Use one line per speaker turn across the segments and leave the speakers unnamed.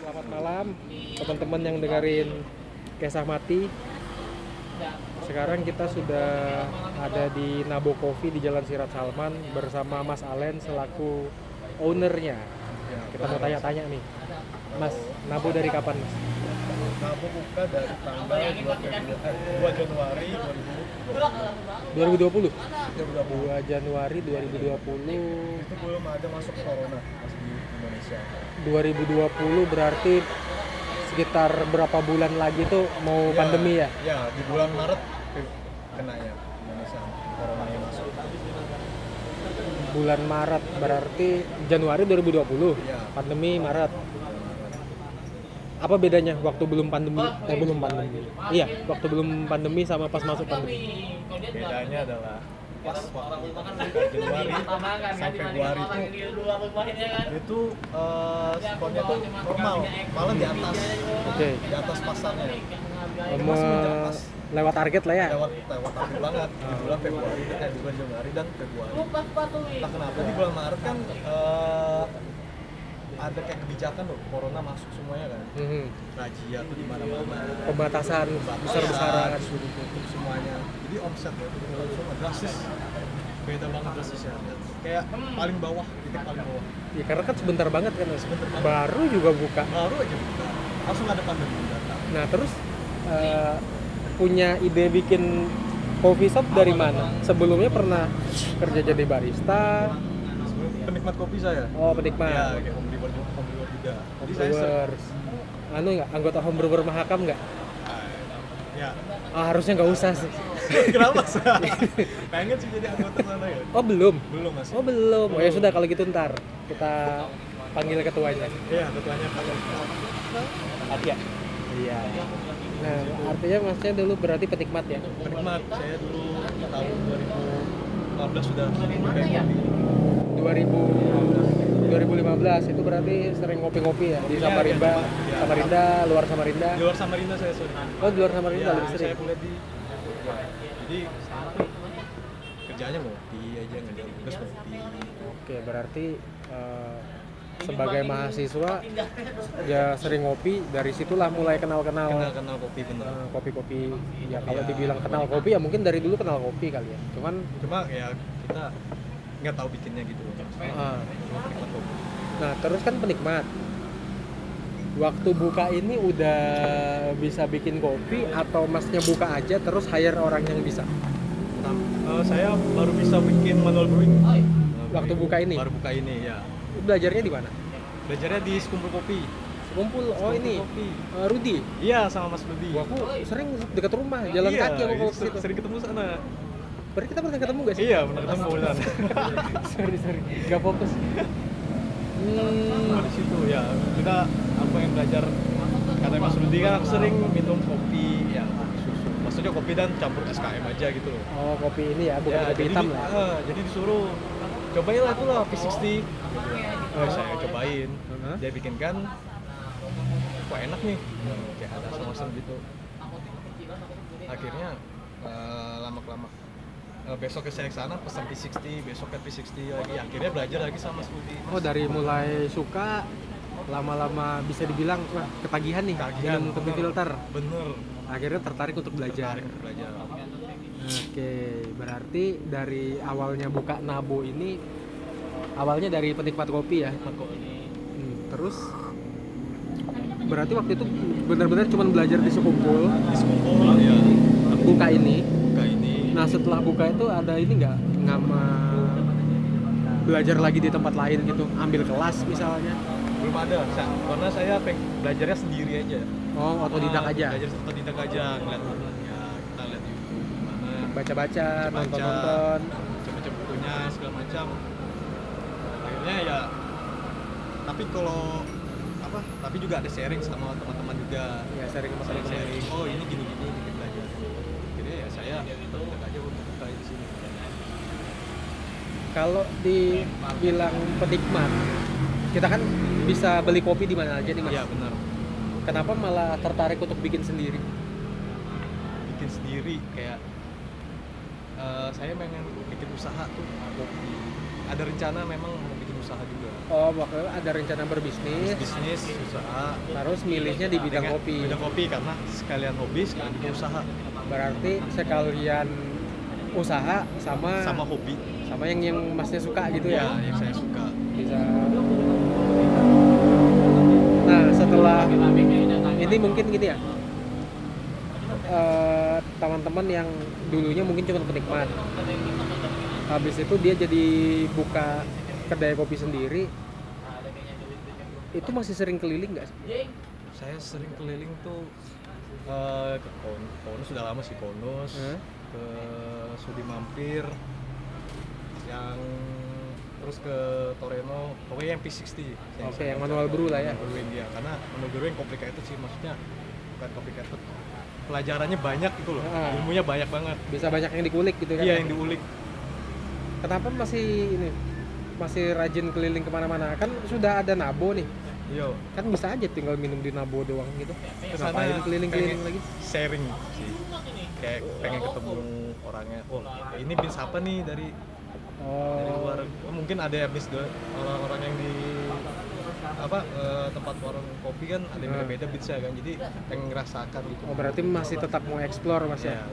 Selamat malam teman-teman yang dengerin Kisah Mati. Sekarang kita sudah ada di Nabo Coffee di Jalan Sirat Salman bersama Mas Alen selaku ownernya. Kita mau tanya-tanya nih. Mas, Nabo dari kapan, Mas?
Kamu buka dari tanggal 2 Februari, 2 Januari
2020.
2020.
2 Januari 2020.
Itu belum ada masuk corona masih di Indonesia.
2020 berarti sekitar berapa bulan lagi tuh mau pandemi ya?
Ya, di bulan Maret ke- kena ya Indonesia corona yang masuk.
Bulan Maret berarti Januari 2020.
Iya.
Pandemi Maret. Apa bedanya waktu belum pandemi? Eh belum pandemi. Iya, waktu belum pandemi sama pas masuk pandemi.
Bedanya adalah pas waktu dari Januari sampai Februari itu itu eh, skornya tuh normal, malah di atas
Oke.
di atas pasarnya
Me- lewat target lah ya.
lewat lewat akhir banget di bulan Februari eh di bulan Januari dan Februari Entah kenapa di bulan Maret kan eh, ada kayak kebijakan loh, corona masuk semuanya kan.
Mhm.
Razia tuh di mana-mana.
iya. Pembatasan besar-besaran.
disuruh tutup semuanya. Jadi omset ya itu beneran semua drastis. Beda banget drastisnya. Kayak paling bawah, titik paling bawah.
Ya karena kan sebentar banget kan Mas. Baru juga buka.
Baru aja buka, langsung ada pandemi datang.
Nah terus eh, punya ide bikin coffee shop dari mana? Sebelumnya pernah kerja jadi barista,
Sebelum penikmat kopi saya.
oh penikmat,
Ya, kayak home brewer juga, home brewer juga. Jadi saya ser-
homebrewers. Anu nggak anggota homebrewer mahakam nggak?
ya.
Ah, harusnya nggak usah sih.
Kenapa sih? Pengen sih jadi anggota sana ya.
Oh belum,
Belum masih.
oh belum. Oh ya sudah kalau gitu ntar kita panggil ketuanya.
Iya, ketuanya kalau
Iya. Iya. Nah artinya masnya dulu berarti penikmat ya?
penikmat. Saya dulu di tahun 2014 sudah sering juga kopi.
2000 2015 itu berarti sering ngopi-ngopi ya di
Iya,
Samarinda,
iya.
Samarinda, luar Samarinda.
Di luar Samarinda saya sering.
Oh di luar Samarinda lebih
saya
sering.
kuliah di ya, jadi kerjanya ngopi aja ngejar tugas ngopi.
Oke berarti eh, sebagai mahasiswa ya sering ngopi dari situlah mulai
Kenal
kenal-kenal
kenal kopi bener.
eh, kopi-kopi. Ya kalau
Iya.
dibilang kenal kopi ya mungkin dari dulu kenal kopi kali ya. Cuman
Cuma ya kita nggak tahu bikinnya gitu.
eh,
Cuma penikmat kopi.
nah terus kan penikmat. Waktu buka ini udah bisa bikin kopi atau masnya buka aja terus hire orang yang bisa.
Eh, saya baru bisa bikin manual brewing. Manual
Waktu
brewing.
buka ini?
Baru buka ini ya.
Belajarnya di mana?
Belajarnya di Sekumpul Kopi.
Kumpul. Oh
Sekumpul
ini
Kopi.
eh, Rudi.
Iya sama Mas Budi.
Gua aku sering dekat rumah jalan
Iya,
kaki aku kalau
ser-
ke situ.
Sering ketemu sana.
Berarti kita pernah ketemu gak Iya, sih?
Iya, pernah ketemu bulan.
sorry sorry gak fokus hmm,
di situ ya. Kita aku yang belajar kata Mas Rudi kan aku sering minum kopi ya kopi susu. Maksudnya kopi dan campur SKM aja gitu loh.
oh kopi ini ya bukan
ya,
kopi
jadi,
hitam
di-
lah
eh, jadi disuruh cobain lah itu lah P60. Gitu. Oh, saya cobain.
Heeh.
Dia bikin kan wah enak nih. Kayak ada asam-asam gitu. Akhirnya eh, lama-kelama eh, besok ke saya sana pesan P60, besok ke P60 lagi. Akhirnya belajar lagi sama Mas Budi.
oh dari mulai suka lama-lama bisa dibilang wah ketagihan nih
Ketagihan,
minum kopi
bener.
filter
Bener.
akhirnya tertarik untuk belajar
Tertarik belajar.
oke berarti dari awalnya buka nabo ini awalnya dari penikmat kopi ya
Sama kok ini.
Hmm, terus berarti waktu itu benar-benar cuma belajar di sekumpul
Diskumpul ya.
buka ini
Buka ini.
Nah setelah buka itu ada ini nggak nggak ma- belajar lagi di tempat lain gitu, ambil kelas misalnya.
Belum ada. Sa- Karena saya peng belajarnya sendiri aja.
Oh otodidak
Ah,
aja,
Belajar otodidak aja. Ngeliat ya kita lihat di YouTube gimana.
baca-baca,
Baca-baca.
nonton-nonton.
Baca-baca bukunya segala macam. Akhirnya ya. Tapi kalau apa apa tapi juga ada sharing sama teman-teman juga
ya sharing sama
saya
teman-teman
sharing oh ini gini-gini dikit belajar jadi ya saya tertarik aja untuk buka di sini
kalau dibilang penikmat kita kan bisa beli kopi di mana aja nih mas
iya benar
kenapa malah tertarik untuk bikin sendiri
bikin sendiri kayak eh, saya pengen bikin usaha tuh kopi ada rencana memang mau bikin usaha juga
oh makanya ada rencana berbisnis
bisnis usaha
harus milihnya di bidang
Dengan-
kopi
bidang kopi karena sekalian hobi sekalian bikin usaha
berarti sekalian usaha sama
sama hobi
sama yang yang masnya suka Eh, gitu
ya,
ya
yang saya suka
bisa nah setelah ini mungkin gitu ya eh, teman-teman yang dulunya mungkin cuma penikmat habis itu dia jadi buka kedai kopi sendiri itu masih sering keliling nggak sih?
saya sering keliling tuh eh, ke Kon- Konus sudah lama sih Konus
Hmm.
ke Sudi Mampir yang terus ke Toreno pokoknya yang P60 yang
Oke,
saya
yang
baca.
manual brew lah ya.
Manual brewing, iya. karena manual brewing complicated sih maksudnya bukan complicated pelajarannya banyak itu loh
Ah.
ilmunya banyak banget
Bisa banyak yang dikulik gitu kan?
iya yang diulik
Kenapa masih ini masih rajin keliling kemana-mana? Kan sudah ada Nabo nih,
yo
kan bisa aja tinggal minum di Nabo doang gitu.
Kesana
Ngapain keliling-keliling
Ya, pengen
lagi?
sharing sih kayak pengen ketemu orangnya oh ini bis apa nih dari dari
Oh,
luar Oh, mungkin ada ya bis do- orang-orang yang di apa eh, tempat warung kopi kan ada yang
Hmm.
beda-beda bisnya kan jadi pengen ngerasakan gitu
oh berarti masih tetap mau explore mas
ya
ya?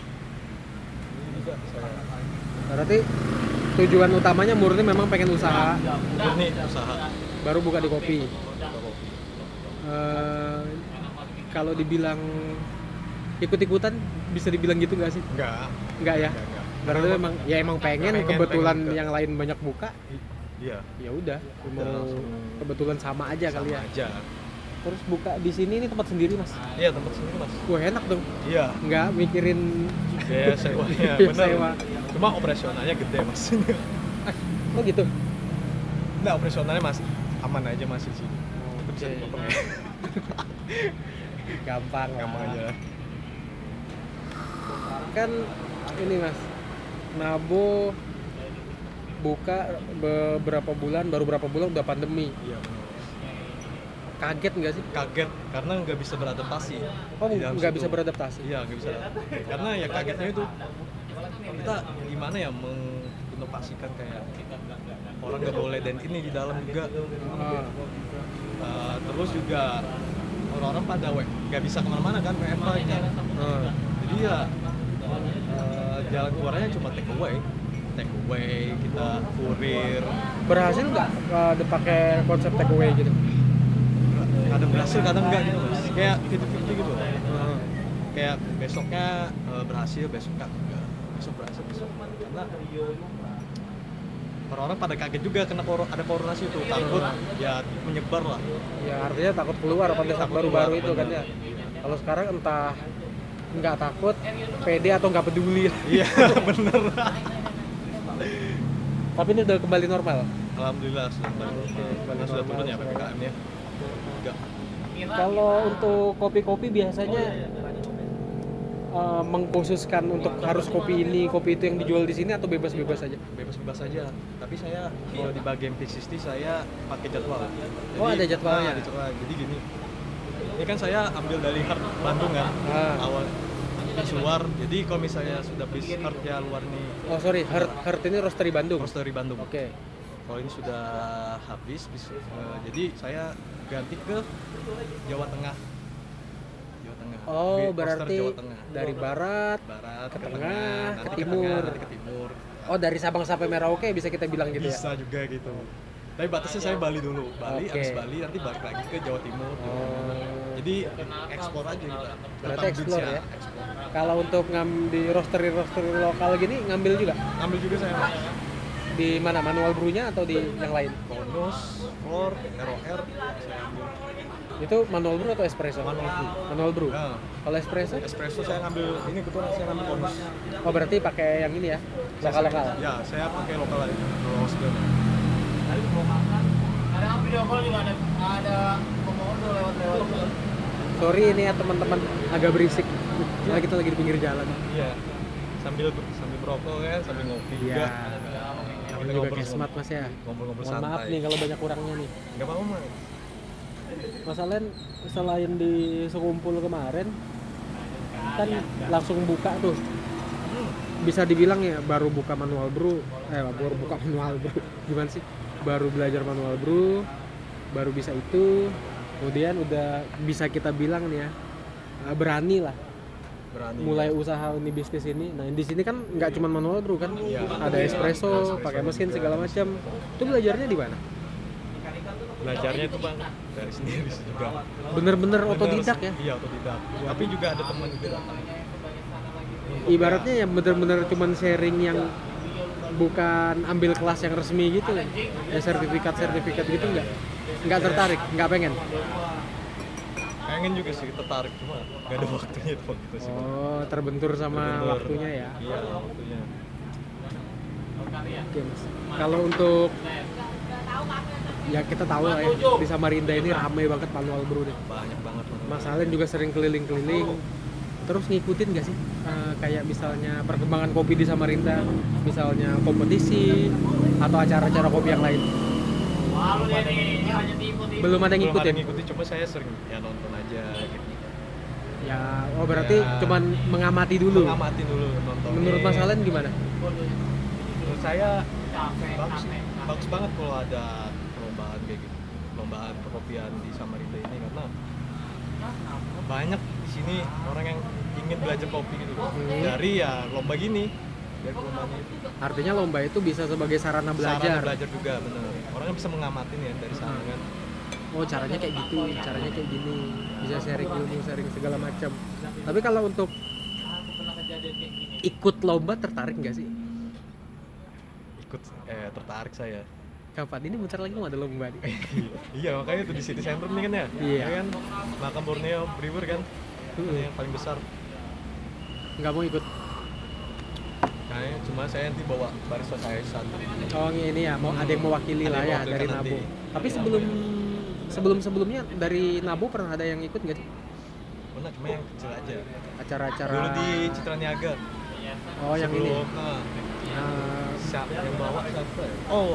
Ini juga saya
Berarti tujuan utamanya murni memang
Iya,
pengen usaha,
murni usaha
baru buka di kopi.
buka kopi
Eh, kalau dibilang ikut-ikutan bisa dibilang gitu nggak sih?
enggak
Nggak ya?
enggak enggak
Berarti memang ya emang pengen,
Iya. Pengen,
kebetulan
pengen.
yang lain banyak buka,
I- iya
ya udah mau
langsung.
kebetulan sama aja kali
sama
ya.
aja
Terus buka di sini ini tempat sendiri mas.
iya tempat sendiri mas
Wah enak dong.
iya
Nggak mikirin
biaya sewanya
Biaya
benar
Iya, sewa.
cuma operasionalnya gede mas
oh gitu.
Nggak, operasionalnya masih aman aja masih di sini Tetap bisa
Oke.
dipotong.
Gampang. lah.
gampang aja
Kan ini mas, Nabo buka beberapa bulan baru berapa bulan udah pandemi
iya benar.
kaget nggak sih
kaget karena nggak bisa beradaptasi
oh
di dalam
nggak
situ.
bisa beradaptasi
iya nggak bisa karena ya kagetnya itu kita gimana ya menginovasikan kayak orang nggak boleh dan ini di dalam juga
Ah,
Eh, terus juga orang-orang pada we- nggak bisa kemana-mana kan WFH kan
ah.
jadi ya eh, jalan keluarnya cuma take away take away kita kurir
berhasil nggak eh, dipakai konsep takeaway gitu
kadang berhasil kadang enggak gitu Mas. kayak 50-50 gitu
Ah.
kayak besoknya eh, berhasil besok enggak enggak. besok berhasil besok enggak. karena orang-orang pada kaget juga kena kor- ada corona sih tuh takut ya menyebar lah
ya artinya takut keluar pada saat
Takut
baru-baru
keluar,
itu kan ya
benar.
kalau sekarang entah nggak takut pede atau nggak peduli
iya bener
tapi ini udah kembali normal
alhamdulillah sudah balik Karena sudah turun ya ppkm nya enggak
kalau untuk kopi-kopi
Oh, iya,
biasanya eh, mengkhususkan untuk harus kopi ini kopi itu yang dijual di sini atau bebas-bebas saja
bebas-bebas aja tapi saya kalau di bagian P60 saya pakai jadwal
Oh, ada jadwalnya.
Ah, ada jadwal. jadi gini ini kan saya ambil dari hard Bandung kan
Ah.
awal bis luar jadi kalau misalnya sudah bis hard ya luar nih
oh sorry Heart Heart ini roastery Bandung
terus
oke
dari Bandung kalau ini sudah habis bis, eh, jadi saya ganti ke Jawa Tengah Jawa Tengah Bi-
oh
roster
berarti
Jawa Tengah
dari barat
barat
ke
ke,
tengah,
tengah
ke
nanti
timur.
nanti ke timur
oh dari Sabang sampai Merauke bisa kita bilang gitu ya
bisa juga gitu tapi batasnya saya Bali dulu Bali
Oke.
habis Bali nanti balik lagi ke Jawa Timur
oh
jadi ekspor aja kita
Berarti explore ya?
ekspor
Kalau untuk ngam di roastery roastery lokal gini ngambil juga
ambil juga saya Mas.
di mana manual brewnya atau di yang lain?
bonus floor ROR saya ambil
Itu manual brew atau espresso?
manual brew.
Manual brew.
Nah,
Kalau espresso?
espresso saya ngambil ini kebetulan saya ngambil bonus
Oh berarti pakai yang ini ya lokal lokal.
ya saya pakai lokal aja Roast dan-
kadang video call juga ada ada pemohon tuh lewat-lewat
Sorry ini ya teman-teman agak berisik. Karena kita lagi di pinggir jalan.
Iya. Sambil sambil merokok kan, sambil ngopi juga.
Iya. Ini juga kesmat mas ya.
Ngobrol-ngobrol
Mohon maaf
santai.
nih kalau banyak kurangnya nih.
Enggak apa-apa, Mas.
Masalahnya selain di sekumpul kemarin kan langsung buka tuh bisa dibilang ya baru buka manual brew eh baru buka manual brew gimana sih baru belajar manual brew baru bisa itu kemudian udah bisa kita bilang nih ya eh, berani lah
Berani.
mulai usaha ini bisnis ini nah di sini kan nggak cuma manual brew kan
Iya.
ada espresso pakai mesin segala macam itu belajarnya di mana
belajarnya itu Bang dari sendiri sih juga.
bener-bener otodidak ya
Iya, otodidak. Tapi juga ada teman juga datang.
ibaratnya ya bener-bener cuman sharing yang bukan ambil kelas yang resmi gitu ya ya sertifikat sertifikat gitu nggak nggak tertarik nggak pengen
Pengen juga sih tertarik cuma gak ada waktunya itu waktu itu sih. Bang.
oh terbentur sama
Bener.
waktunya ya
Iya, waktunya.
oke mas kalau untuk ya kita tahu lah ya di Samarinda ini ramai banget manual bro deh
Banyak banget Bang.
Mas Alen juga sering keliling-keliling terus ngikutin gak sih Eh, kayak misalnya perkembangan kopi di Samarinda misalnya kompetisi atau acara-acara kopi yang lain
wah lu dia ya nih hanya tipu tipu
belum ada yang ya?
Belum ada
ngikutin
ngikutin, cuma saya sering ya nonton aja gitu.
Ya, oh berarti
Ya.
cuman mengamati dulu.
Amati dulu nonton.
Menurut Mas Alen gimana?
Menurut saya
capek
bagus
capek
bagus banget kalau ada perlombaan kayak gitu perlombaan perkopian di Samarinda ini karena banyak di sini orang yang ingin belajar kopi gitu dari ya lomba gini dari perlombaan itu
Artinya lomba itu bisa sebagai sarana
Sarana
belajar.
belajar juga bener orang yang bisa mengamatin ya dari sana kan
Oh, caranya kayak gitu, caranya kayak gini. Bisa sharing ilmu, sharing segala macam. Tapi kalau untuk
aku pernah kejadian kayak gini
ikut lomba tertarik nggak sih?
ikut eh tertarik saya
Kapan ini bentar lagi mau ada lomba nih.
iya makanya itu di city center nih kan ya
Iya.
Ya kan makan Borneo Brewer kan
Hmm.
yang paling besar
Nggak mau ikut.
kayaknya cuma saya nanti bawa barista saya satu
Oh, ini ya, mau ada yang mewakili
Ada
lah
yang
ya
mewakili
dari
kan nanti.
Nabu. Tapi sebelum sebelum-sebelumnya dari Nabu pernah ada yang ikut nggak sih?
mana cuma yang kecil aja
Acara-acara
dulu di Citra Niaga
Oh, yang ini.
sebelum, eh,
Nah,
siapa yang bawa siapa ya? oh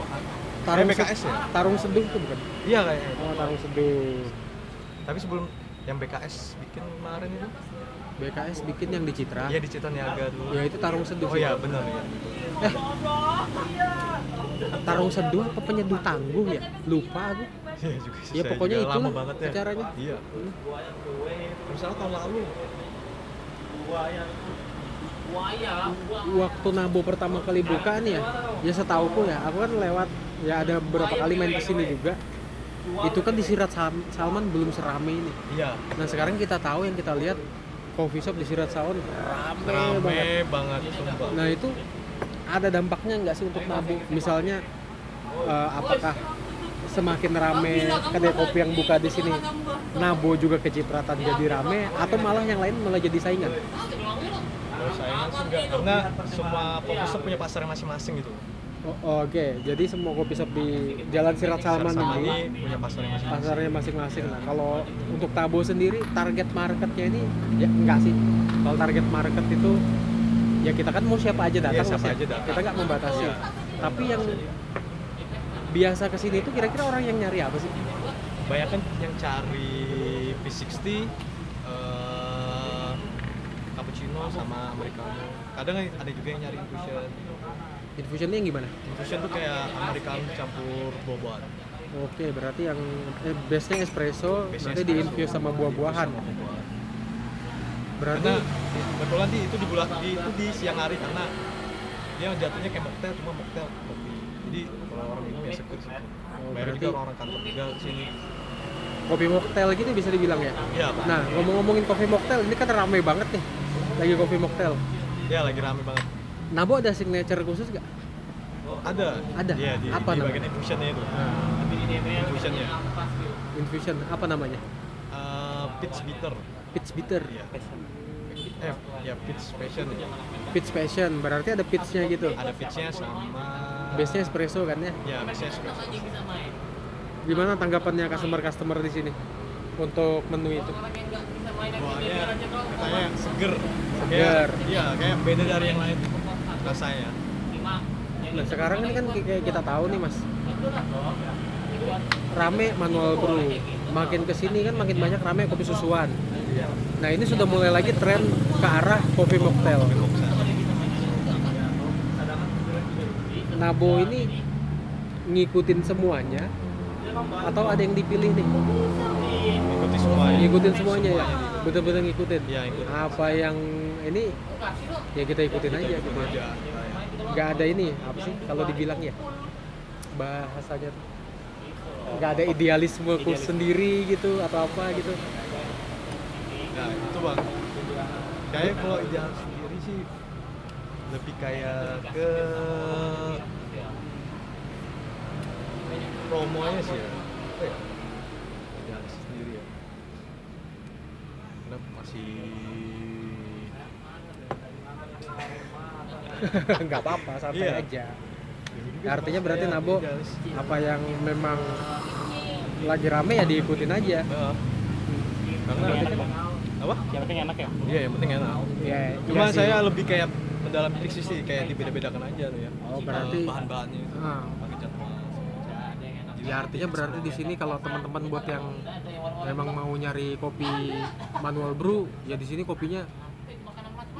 tarung
eh, BKS ya
Tarung Seduh itu bukan?
iya kayaknya
Oh, Tarung Seduh.
tapi sebelum yang BKS bikin kemarin itu
BKS bikin yang di Citra.
iya di Citra Niaga dulu
Ya itu tarung seduh.
oh
sih.
iya benar ya
Eh. Tarung seduh apa penyeduh tangguh ya? Lupa aku.
iya juga sih
Ya,
saya
pokoknya
juga lama
itulah
banget ya
acaranya. Hmm.
iya misalnya tahun lalu
buaya buang
Waktu Nabo pertama kali buka nih ya, ya setauku ya, aku kan lewat ya ada beberapa kali main kesini juga. Itu kan di Sirat Sal- Salman belum serame ini.
iya
Nah sekarang kita tahu yang kita lihat coffee shop di Sirat Salman rame,
rame
banget.
banget sumpah
Nah itu ada dampaknya nggak sih untuk Nabo? Misalnya eh, apakah semakin rame kedai kopi yang buka di sini Nabo juga kecipratan jadi rame atau malah yang lain malah jadi saingan?
kalau saya sih enggak karena semua fokus tuh punya pasar masing-masing gitu
O- Oh, Oke, jadi semua kopi shop di Jalan Sirat Salman
sama
ini
ini punya pasar masing-masing
pasarnya masing-masing. Nah, kalau untuk Tabo sendiri target marketnya ini ya enggak sih. Kalau target market itu ya kita kan mau siapa aja datang,
Iya, siapa
Mas, ya.
aja datang. Iya.
kita nggak membatasi. Tapi yang biasa kesini itu kira-kira orang yang nyari apa sih?
banyak kan yang cari V60 eh, cappuccino sama americano kadang ada juga yang nyari infusion
Infusionnya yang gimana?
infusion tuh kayak americano campur buah-buahan
Oke, berarti yang eh, base-nya espresso, nanti
Base-nya espresso.
diinfuse sama buah-buahan.
Sama buah-buahan.
Berarti
karena kebetulan di itu di bulan di, itu di siang hari karena dia jatuhnya kayak mocktail cuma mocktail kopi jadi kalau orang minum ya seger sih banyak juga
Oh, berarti-
orang-orang kantor juga sini
kopi mocktail gitu bisa dibilang ya.
ya pak
Nah, ngomong-ngomongin kopi mocktail, ini kan rame banget nih. Lagi kopi mocktail.
ya lagi rame banget
Nabo ada signature khusus gak?
ada
Ada?
Iya, di,
Apa
di
namanya? Ah.
bagian infusionnya itu infusionnya
Infusion, apa namanya?
Eh, pitch bitter
Pitch bitter,
Iya. Eh, ya pitch passion ya.
pitch passion, berarti ada pitchnya gitu.
Ada pitchnya sama
Base-nya espresso kan ya?
ya biasanya espresso.
Gimana tanggapannya customer-customer di sini untuk menu itu?
Buahnya katanya seger.
Seger.
Kayak, iya, kayak beda dari yang lain rasanya.
Nah sekarang ini kan kayak kita tahu nih mas, rame manual brew. Makin kesini kan makin banyak rame kopi susuan.
Iya.
Nah ini sudah mulai lagi tren ke arah kopi mocktail. Nabo ini ngikutin semuanya atau ada yang dipilih nih?
Ikuti semuanya.
Ngikutin semuanya ya, betul-betul ngikutin.
Iya, ikutin.
Apa yang ini ya kita ikutin aja gitu. ya.
Iya.
Nggak ada ini apa sih kalau dibilang ya bahasanya tuh. nggak ada idealisme ku sendiri gitu atau apa gitu.
Nah, itu bang. Kayak kalau jalan sendiri sih lebih kayak ke promonya sih ya. Apa ya? Jalan sendiri ya. Karena masih
Nggak apa-apa santai
Iya.
aja. Artinya berarti Nabo
Idealis.
apa yang memang lagi rame ya diikutin aja.
Heeh. Karena apa?
yang penting enak ya
Iya, yang penting enak.
Ya,
Cuma
iya sih.
saya lebih kayak mendalam trik sih kayak dibeda-bedakan aja tuh ya.
Oh, berarti-
bahan-bahannya itu.
Ah.
Pakai jadwal. Iya.
Ya artinya berarti di sini kalau teman-teman buat yang memang mau nyari kopi manual brew, ya di sini kopinya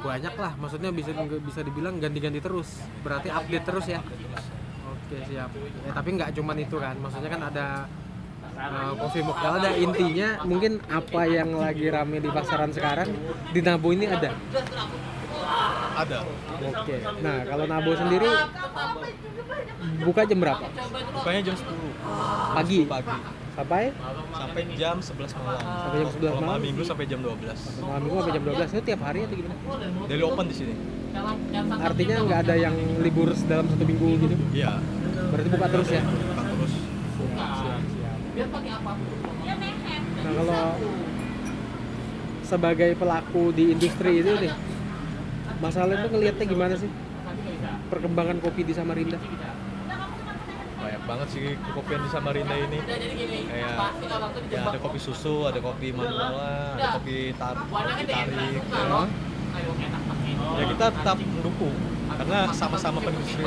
banyak lah. Maksudnya bisa bisa dibilang ganti-ganti terus. Berarti update terus ya. Oke siap. Ya, tapi nggak cuman itu kan. Maksudnya kan ada eh, kopi mocktail ada intinya mungkin apa yang lagi rame di pasaran sekarang di Nabo ini ada.
Ada.
Oke. Nah kalau Nabo sendiri buka jam berapa?
Bukanya jam 10
Pagi
pagi
sampai
sampai jam 11 malam.
Sampai jam 11
Kalau
malam?
Minggu sampai jam 12.
malam minggu sampai jam 12 itu tiap hari atau gimana?
Daily open di sini.
Artinya nggak ada yang libur dalam satu minggu gitu.
Iya.
Berarti buka terus ya.
buka Terus
Nah kalau sebagai pelaku di industri itu nih, masalah itu ngelihatnya gimana sih? Perkembangan kopi di Samarinda.
banyak banget sih kopian di Samarinda ini. Kayak ya ada kopi susu, ada kopi manuala, ada kopi tar kopi tarik. ya. Ya kita tetap mendukung karena sama-sama penindustri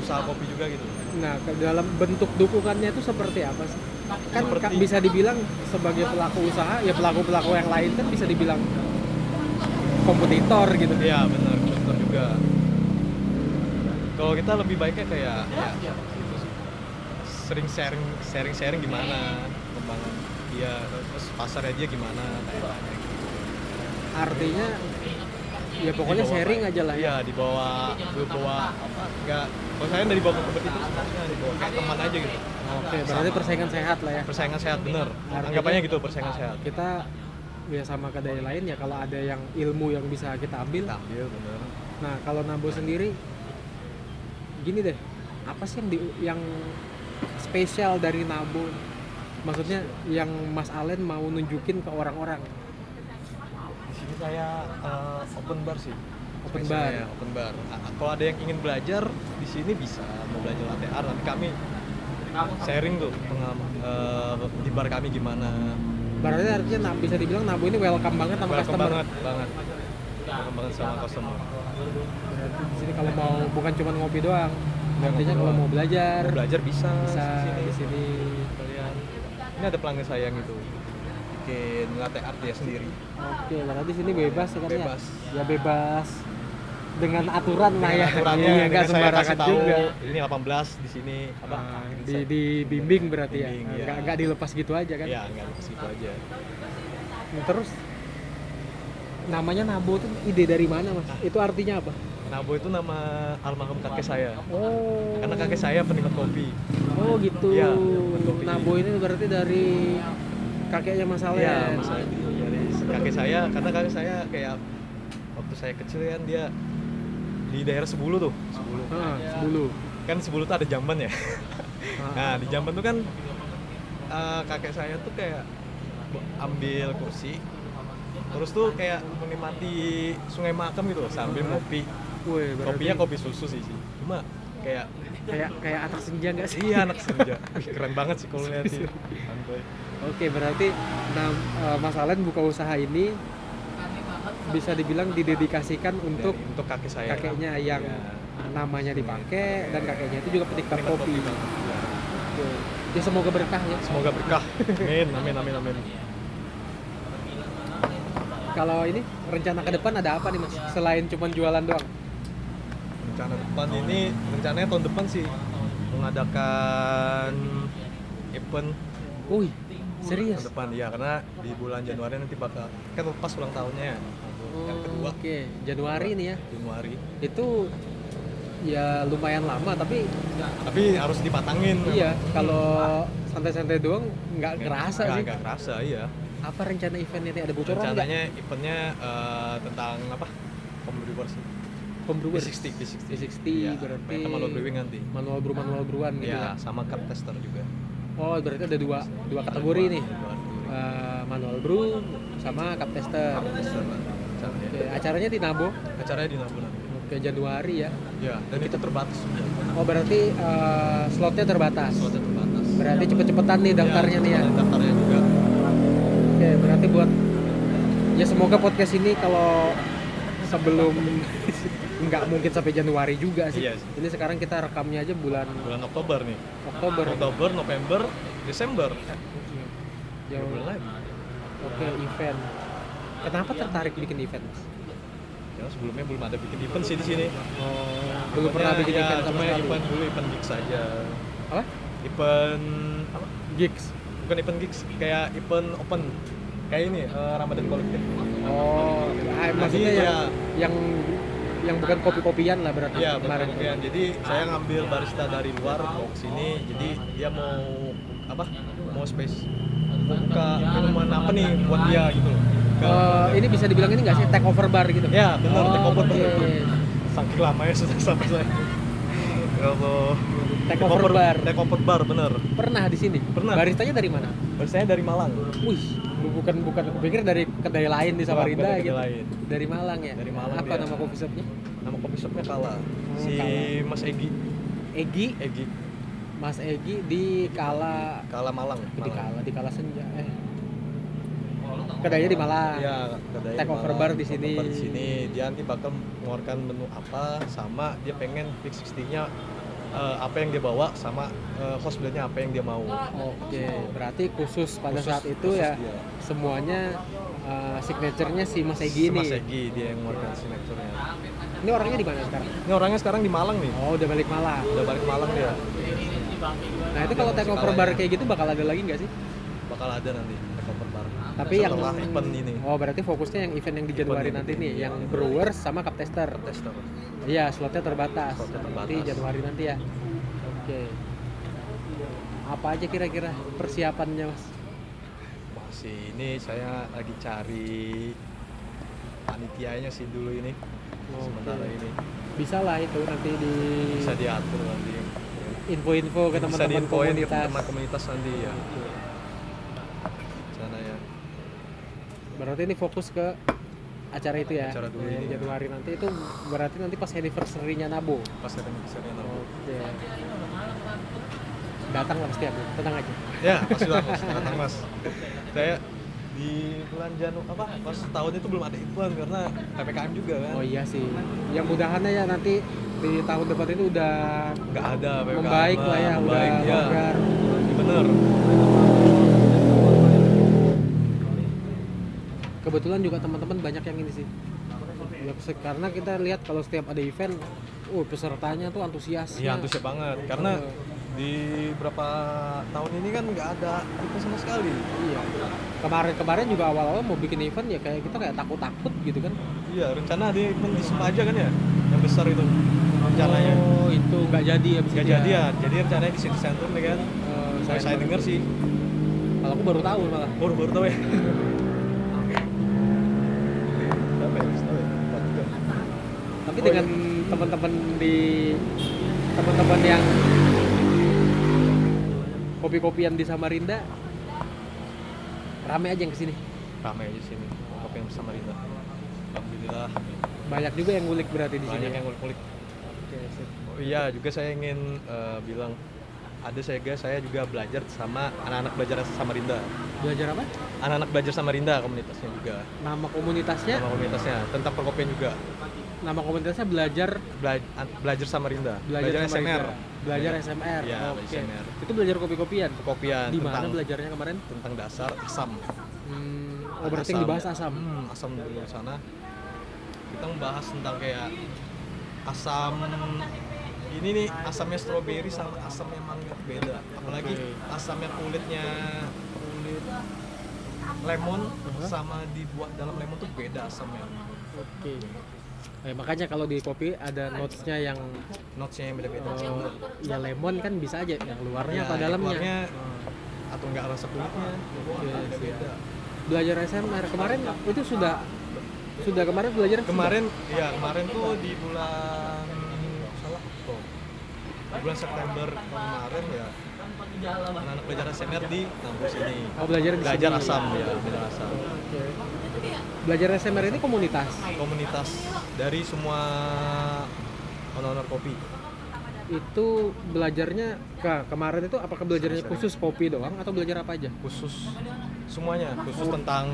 usaha kopi juga gitu.
Nah ke dalam bentuk dukungannya itu seperti apa sih? Kan ka-
Seperti-
bisa dibilang sebagai pelaku usaha, ya pelaku pelaku yang lain kan bisa dibilang kompetitor gitu.
Iya benar, benar juga. Kalau kita lebih baiknya kayak ya, gitu sih. sering sharing sharing sharing gimana kembangan dia terus pasarnya dia gimana kayaknya gitu.
Artinya ya pokoknya
Dibawa-
sharing aja lah ya.
Iya, dibawa dibawa apa? Enggak kalau saya dari bawah kompetitor sebenarnya dibawa kayak teman aja gitu.
Oke, berarti persaingan sehat lah ya.
Persaingan sehat bener. Anggapannya gitu persaingan sehat.
kita ya sama ke daerah lain ya kalau ada yang ilmu yang bisa kita ambil
Iya bener.
nah kalau Nabo sendiri gini deh apa sih yang di, yang spesial dari Nabo maksudnya yang Mas Allen mau nunjukin ke orang-orang
Di sini kayak eh, open bar sih.
Open
Spesialnya
bar.
ya, open bar. A- Kalau ada yang ingin belajar di sini bisa mau belajar latte art nanti kami sharing tuh pengalaman eh, di bar kami gimana.
berarti artinya na- bisa dibilang Nabo ini welcome banget sama
Welcome
customer
banget banget. Welcome banget sama customer.
berarti di sini kalau mau bukan cuma ngopi doang
Iya,
artinya
ngopi
kalau
doang.
mau belajar
Mau belajar bisa,
bisa di
sini.
sini
Kalian. Ini ada pelanggan sayang itu bikin latte art dia sendiri.
oke berarti di sini bebas ya kan ya?
Bebas.
ya bebas dengan aturan lah ya
Aturannya
Iya, nggak
dengan saya
sembarangan
kasih tahu Iya,
juga
ini 18 di sini apa?
Nah, di dibimbing berarti ya
Bimbing,
nggak nggak dilepas gitu aja kan
Iya, enggak di situ aja.
Nah, terus namanya Nabo itu ide dari mana mas itu artinya apa
Nabo itu nama almarhum kakek saya.
oh
Karena kakek saya penikmat kopi.
oh gitu
Iya, buat kopi.
Nabo ini berarti dari kakeknya Mas Alen
Iya, Mas Adi. Jadi kakek saya, karena kakek saya kayak waktu saya kecil kan dia di daerah Sebulu tuh. Sebulu.
Heeh, dulu
Kan Sebulu tuh ada jamban ya.
Heeh.
Nah, di jamban tuh kan eh, kakek saya tuh kayak ambil kursi terus tuh kayak menikmati sungai makam gitu loh, sambil ngopi
Woi, berarti
kopinya kopi susu sih sih cuma kayak
kayak kayak anak senja nggak sih?
iya anak senja Wih, keren banget sih kalau lihat sih Santai.
Oke, berarti nah, eh, Mas Alen buka usaha ini bisa dibilang didedikasikan untuk
Dari- Iya, untuk kakek saya
kakeknya yang
Iya.
namanya dipakai dan kakeknya itu juga penikmat kopi. Oke. Ya semoga berkah ya.
semoga berkah amin amin amin amin
Kalau ini rencana ke depan ada apa nih Mas? Selain cuman jualan doang.
rencana depan ini rencananya tahun depan sih mengadakan event
Wih,
tahun
serius.
depan ya karena di bulan Januari nanti bakal kan pas ulang tahunnya ya. yang kedua
Oke, Januari nih ya.
Januari
Itu ya lumayan lama tapi
tapi harus dipatangin
iya kalau santai-santai doang nggak ngerasa sih.
nggak kerasa iya
Apa rencana eventnya nih? Ada bocoran nggak?
rencananya eventnya eh, tentang apa Homebrewers sih
Homebrewers.
B60 B60
B60,
Iya,
berarti-
mereka malu brewing nanti
manual brew manual brewan gitu ya.
ya sama cup tester juga
Oh, berarti ada dua dua kategori nih. Eh, manual brew sama cup tester.
Cup tester lah, rencananya.
Oke, acaranya di Nabo.
acaranya di Nabuna
Oke, Januari ya.
ya dan itu terbatas sudah
Oh, berarti eh, slotnya terbatas.
slotnya terbatas
Berarti cepet-cepetan nih daftarnya nih ya.
dan daftarnya juga
Oke, berarti buat ya semoga podcast ini kalau sebelum nggak mungkin sampai Januari juga sih.
Iya sih.
Ini sekarang kita rekamnya aja bulan
bulan Oktober nih
Oktober.
Oktober November Desember Iya.
Jauh.
Bulan
Oke,
lagi
event. Kenapa tertarik bikin event, Mas?
ya sebelumnya belum ada bikin event sih di sini
Oh, belum pernah bikin
ya,
event sama
cuma
sekali.
event dulu event gigs saja
Apa?
event apa
Gigs.
bukan event gigs kayak event open kayak ini eh, Ramadan kolektif
Oh, ah, maksudnya
Jadi,
yang,
ya-
yang yang bukan kopi-kopian lah berarti kemarin.
Iya benar Kemudian, Jadi saya ngambil barista dari luar mau ke sini. Jadi dia mau apa? Mau space mau buka minuman apa nih buat dia gitu loh.
Eh, ini bisa dibilang ini nggak sih take over bar gitu?
Ya benar
Oh,
take over
oke.
benar. Saking lama ya sudah sampai saya. Ya Allah.
Take over bar.
Take over bar bener.
Pernah di sini.
Pernah.
Baristanya dari mana?
Baristanya dari Malang.
Wih, bu- bukan bukan aku pikir dari kedai lain di Samarinda
Bukan dari kedai
gitu.
lain.
Dari Malang ya.
Dari Malang
Apa
dia.
nama coffee shopnya?
Nama coffee shopnya Kala. Si
Oh, Kala.
Mas Egi.
Egi,
Egi.
Mas Egi di Kala
Kala Malang.
di
Malang.
Kala di Kala Senja. Eh. Kedainya di Malang.
Ya, kedai
Take over
malam,
bar di
take
sini.
over di sini. Dia nanti bakal mengeluarkan menu apa sama dia pengen big 60-nya eh, apa yang dia bawa sama eh, host blend-nya apa yang dia mau.
Oke, berarti khusus pada
Khusus-
saat itu
khusus
ya
dia.
semuanya eh, signaturenya si Mas Egi ini.
Mas Egi dia yang mengeluarkan signature-nya.
Ini orangnya di mana sekarang?
Ini orangnya sekarang di Malang nih.
Oh, udah balik Malang.
Udah balik Malang Iya, dia.
Nah, itu kalau take over
ya.
bar kayak gitu bakal ada lagi nggak sih?
Bakal ada nanti take over bar.
Tapi yang
Setelah event ini.
Oh, berarti fokusnya yang event yang di Januari
ini. iya.
nanti nih, yang brewers sama cup tester.
Tester.
Iya, slotnya terbatas.
Slotnya terbatas.
Nanti Januari nanti ya. Oke. Apa aja kira-kira persiapannya, Mas?
Masih ini saya lagi cari panitianya sih dulu ini.
Oke.
Sementara ini
Bisa lah itu nanti di
bisa diatur nanti.
info-info ke
bisa
teman-teman
diinfoin ke
komunitas.
teman komunitas nanti ya sana ya
Berarti ini fokus ke acara itu ya.
Acara dulu
Yang
ini.
Januari nanti itu berarti nanti pas anniversary-nya Nabo.
pas ada misalnya nabo
Oke. Datang lah pasti aku, tenang aja.
ya pas udah mas datang mas saya di bulan Janu apa pas tahun itu belum ada iklan karena ppkm juga kan
Oh iya sih. Yang mudahannya ya nanti di tahun depan itu udah
nggak ada ppkm
membaik lah ya,
membaik
udah
ya
longgar.
bener
Kebetulan juga teman-teman banyak yang ini sih. Ya, pes- karena kita lihat kalau setiap ada event, uh pesertanya tuh antusias.
iya antusias banget karena di berapa tahun ini kan nggak ada iklan sama sekali
Iya. Kemarin-kemarin juga awal-awal mau bikin event ya kayak kita kayak takut-takut gitu kan.
iya rencana ada iklan di Sempaja kan ya yang besar itu rencananya
Oh, itu nggak jadi ya
nggak jadi ya jadi rencananya di city center nih kan saya saya dengar sih
Kalau aku baru tahu malah.
baru baru tahu ya Berapa ya? Berapa ya? Empat jam.
Tapi
Oh,
dengan teman-teman di teman-teman yang kopi-kopian di Samarinda rame aja yang kesini.
ramai aja sini kopi yang bersama Rita alhamdulillah
Banyak juga yang ngulik berarti di sini.
banyak
ya?
yang ngulik-ngulik
Oke, sip.
Oh, Iya, juga saya ingin eh, bilang ada saya guys, saya juga belajar sama anak-anak belajar Samarinda.
Belajar apa?
Anak-anak belajar Samarinda komunitasnya juga.
Nama komunitasnya,
Sama komunitasnya tentang perkopian juga.
nama komunitasnya belajar
Bela- an- belajar Samarinda.
belajar sama
SMR.
Rinda. Belajar SMR.
Iya,
Oke.
belajar SMR.
Itu belajar kopi-kopian.
Perkopian
Di mana
tentang
belajarnya kemarin?
tentang dasar asam.
Hmm, oh berarti yang dibahas asam.
Hmm, asam dulu di sana. Kita membahas tentang kayak asam ini nih asamnya stroberi sama asamnya mangga beda. Apalagi
Oke.
asamnya kulitnya kulit lemon sama di buah dalam lemon tuh beda asamnya.
Oke. Eh, makanya kalau di kopi ada notes-nya yang
Notesnya yang beda-beda.
eh, ya lemon kan bisa aja yang luarnya
Ya,
apa dalamnya.
keluarnya, atau enggak rasa kulitnya
Iya,
beda beda.
Belajar SMR kemarin itu sudah sudah kemarin belajar
Kemarin ya kemarin tuh di bulan salah kok. Di bulan September kemarin ya anak-anak belajar SMR di kampus ini.
Oh, belajar di
belajar
sini.
asam ya, belajar asam.
Oke. Belajar SMR ini komunitas.
Komunitas dari semua owner-owner kopi.
Itu belajarnya ke kemarin itu apakah belajarnya
Sharing.
khusus kopi doang atau belajar apa aja?
khusus semuanya khusus tentang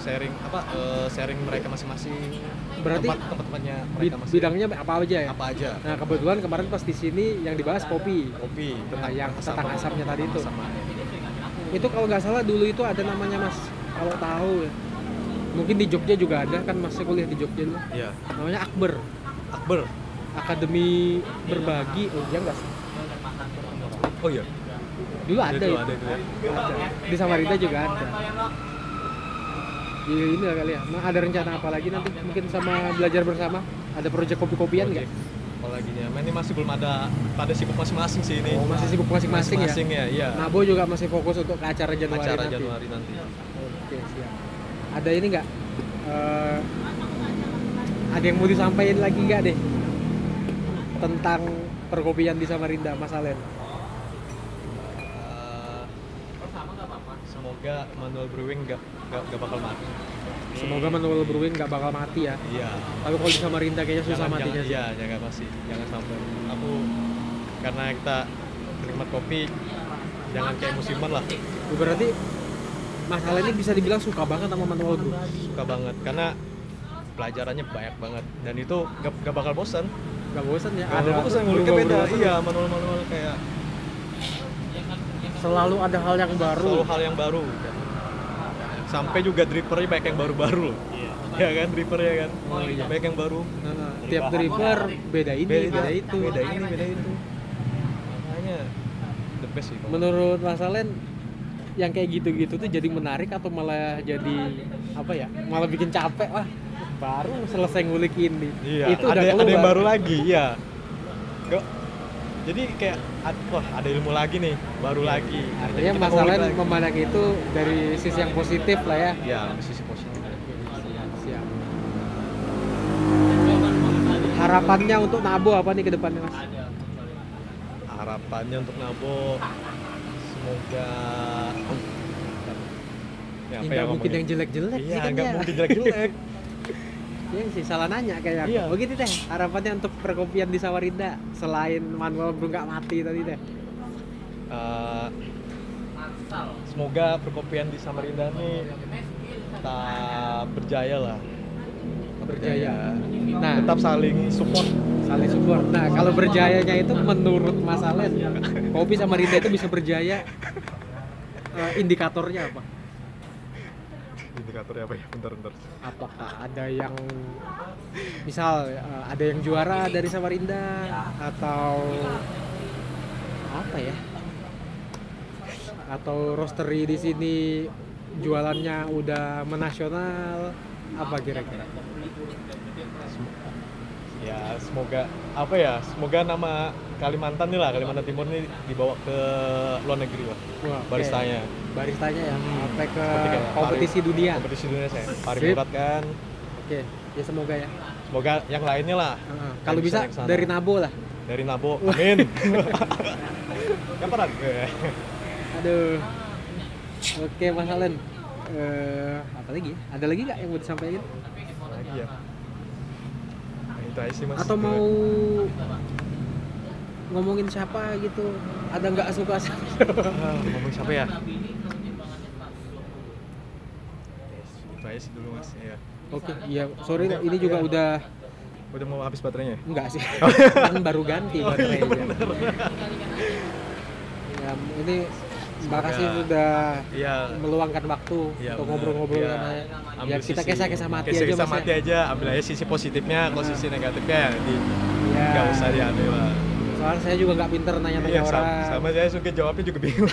sharing apa eh, sharing mereka masing-masing
Berarti
tempat tempat-tempatnya
Bi-
mereka masing
bidangnya apa aja ya?
apa aja
Nah, kebetulan kemarin pas di sini yang dibahas kopi.
kopi
Nah, yang
asam,
tentang asamnya tadi itu.
sama
Itu kalau nggak salah dulu itu ada namanya Mas. Kalau tahu ya. Mungkin di Jogja juga ada kan Masnya kuliah di Jogja dulu.
ya
Namanya Akber.
Akbar
Akademi Berbagi. Oh, iya nggak sih?
oh iya
Dulu ada,
itu,
ya.
ada itu
Ada. Di Samarinda juga ada. Di ini lah kali ya. Nah, ada rencana apa lagi nanti mungkin sama belajar bersama? Ada proyek kopi-kopian nggak?
apalagi ya ini masih belum ada pada sibuk masing-masing sih ini
Oh, masih sibuk masing-masing ya.
masing ya iya
Nabo juga masih fokus untuk ke acara Januari
acara
nanti.
Januari nanti Eh,
Oke, siap. Ada ini nggak? Eh, ada yang mau disampaikan lagi nggak deh tentang perkopian di Samarinda, Mas Alen?
Eh, semoga Manuel Brewing gak, gak, gak bakal mati
Semoga Manuel Brewing nggak bakal mati ya.
iya
Tapi kalau di Samarinda kayaknya susah
jangan,
matinya
jangan,
sih.
iya jangan masih jangan sampai aku karena kita nikmat kopi jangan kayak musiman lah
Berarti Mas Alen ini bisa dibilang suka banget sama Manuel Brew.
suka banget karena pelajarannya banyak banget dan itu gak, gak bakal bosan
Gak bosan ya?
Gak bakal bosan nguliknya
berubah-
beda
berubah-
iya manual-manual kayak
Selalu ada hal yang baru.
selalu hal yang baru sampai juga drippernya banyak yang baru-baru ya kan drippernya kan
Oh, iya.
banyak yang baru
Nah, tiap driver beda ini, beda, itu.
beda ini beda itu makanya the best sih kalau-
Menurut Mas Alen, yang kayak gitu-gitu tuh jadi menarik atau malah jadi apa ya? Malah bikin capek lah. Baru selesai ngulik ini.
Iya,
itu
ada,
udah keluar.
ada yang baru lagi, iya. Gak- Jadi kayak ad- wah, ada ilmu lagi nih, baru lagi. Nah, jadi
Artinya
kita
Mas
ngulik
Alen
lagi.
memandang itu dari sisi yang positif lah ya.
Iya, ada sisi positif.
Siap. Harapannya untuk Nabo apa nih ke depannya Mas?
Harapannya untuk Nabo semoga ya,
Ya, nggak mungkin yang jelek-jelek
Iya,
sih kan
nggak
ya.
mungkin jelek-jelek.
Iya sih, salah nanya kayak
Iya.
Begitu teh, harapannya untuk perkopian di Samarinda selain Manuel Bro nggak mati tadi teh.
Eh, semoga perkopian di Samarinda nih tetap berjaya lah. Tetap
Nah,
Tetap saling support.
saling support. Nah, kalau berjayanya itu menurut Mas Alen, kopi Samarinda itu bisa berjaya eh, indikatornya apa?
Indikatornya apa ya? Bentar-bentar.
Apakah ada yang misal eh, ada yang juara dari Samarinda atau apa ya? Atau roastery di sini jualannya udah menasional apa kira-kira?
ya semoga apa ya semoga nama Kalimantan nih lah Kalimantan Timur nih dibawa ke luar negeri lah
Wah, oke.
baristanya Hmm.
Baristanya ya sampai ke
Seperti kayak
kompetisi
Paris.
dunia.
kompetisi dunia saya Pari
Sip.
Murat kan
Oke, ya semoga ya.
semoga yang lainnya lah
Heeh. Kalau
Yang bisa
bisa
naik sana.
dari Nabo lah.
dari Nabo amin ya peran
Aduh. Oke Mas Alen. Eh, apa lagi? ya? Ada lagi nggak yang mau disampaikan?
lagi ya Nah, itu aja sih mas
Atau mau ngomongin siapa gitu ada nggak suka sama siapa
Ah, ngomong siapa ya? Itu aja sih dulu mas, ya.
oke iya sorry ini juga udah
Udah mau habis baterainya? ya?
enggak sih kan baru ganti
Oh, iya,
baterainya. ya ini makasih
Semoga-
sudah
Iya.
meluangkan waktu
Iya,
untuk
bener.
ngobrol-ngobrol
Iya.
sama
Ambil
ya kita
sisi-
kisah-kisah mati aja
kisah-kisah
mas
mati
ya.
aja, ambil aja sisi positifnya, kalau sisi negatifnya ya nanti
Iya.
nggak usah diambil lah.
soalnya saya juga nggak pinter nanya-nanya
Iya, sama,
orang
sama saya suka jawabnya juga bingung.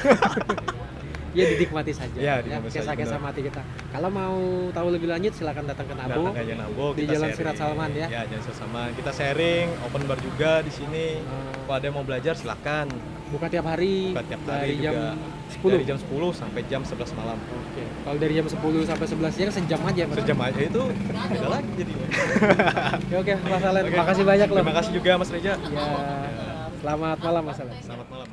ya dinikmati saja
Iya,
ya,
dinikmati saja,
kisah-kisah
benar.
mati kita kalau mau tahu lebih lanjut silakan datang ke Nabo
Datang aja Nabo,
di
kita
Jalan
sharing.
Sirat Salman ya.
Iya, Jalan Sirat Salman. Kita sharing, open bar juga di sini.
Hmm.
Kalau ada yang mau belajar silakan.
buka tiap hari
Buka tiap
dari
hari
jam
juga.
10
Dari jam 10 sampai jam 11 malam.
Oke. Kalau dari jam 10 sampai 11 siang sejam aja, Mas.
Sejam aja itu udah lagi jadinya.
Ya, oke, Mas Alen,
Oke.
makasih banyak loh. Iya.
Terima kasih juga Mas Reja.
Ya. Selamat malam, Mas Alen.
Selamat malam.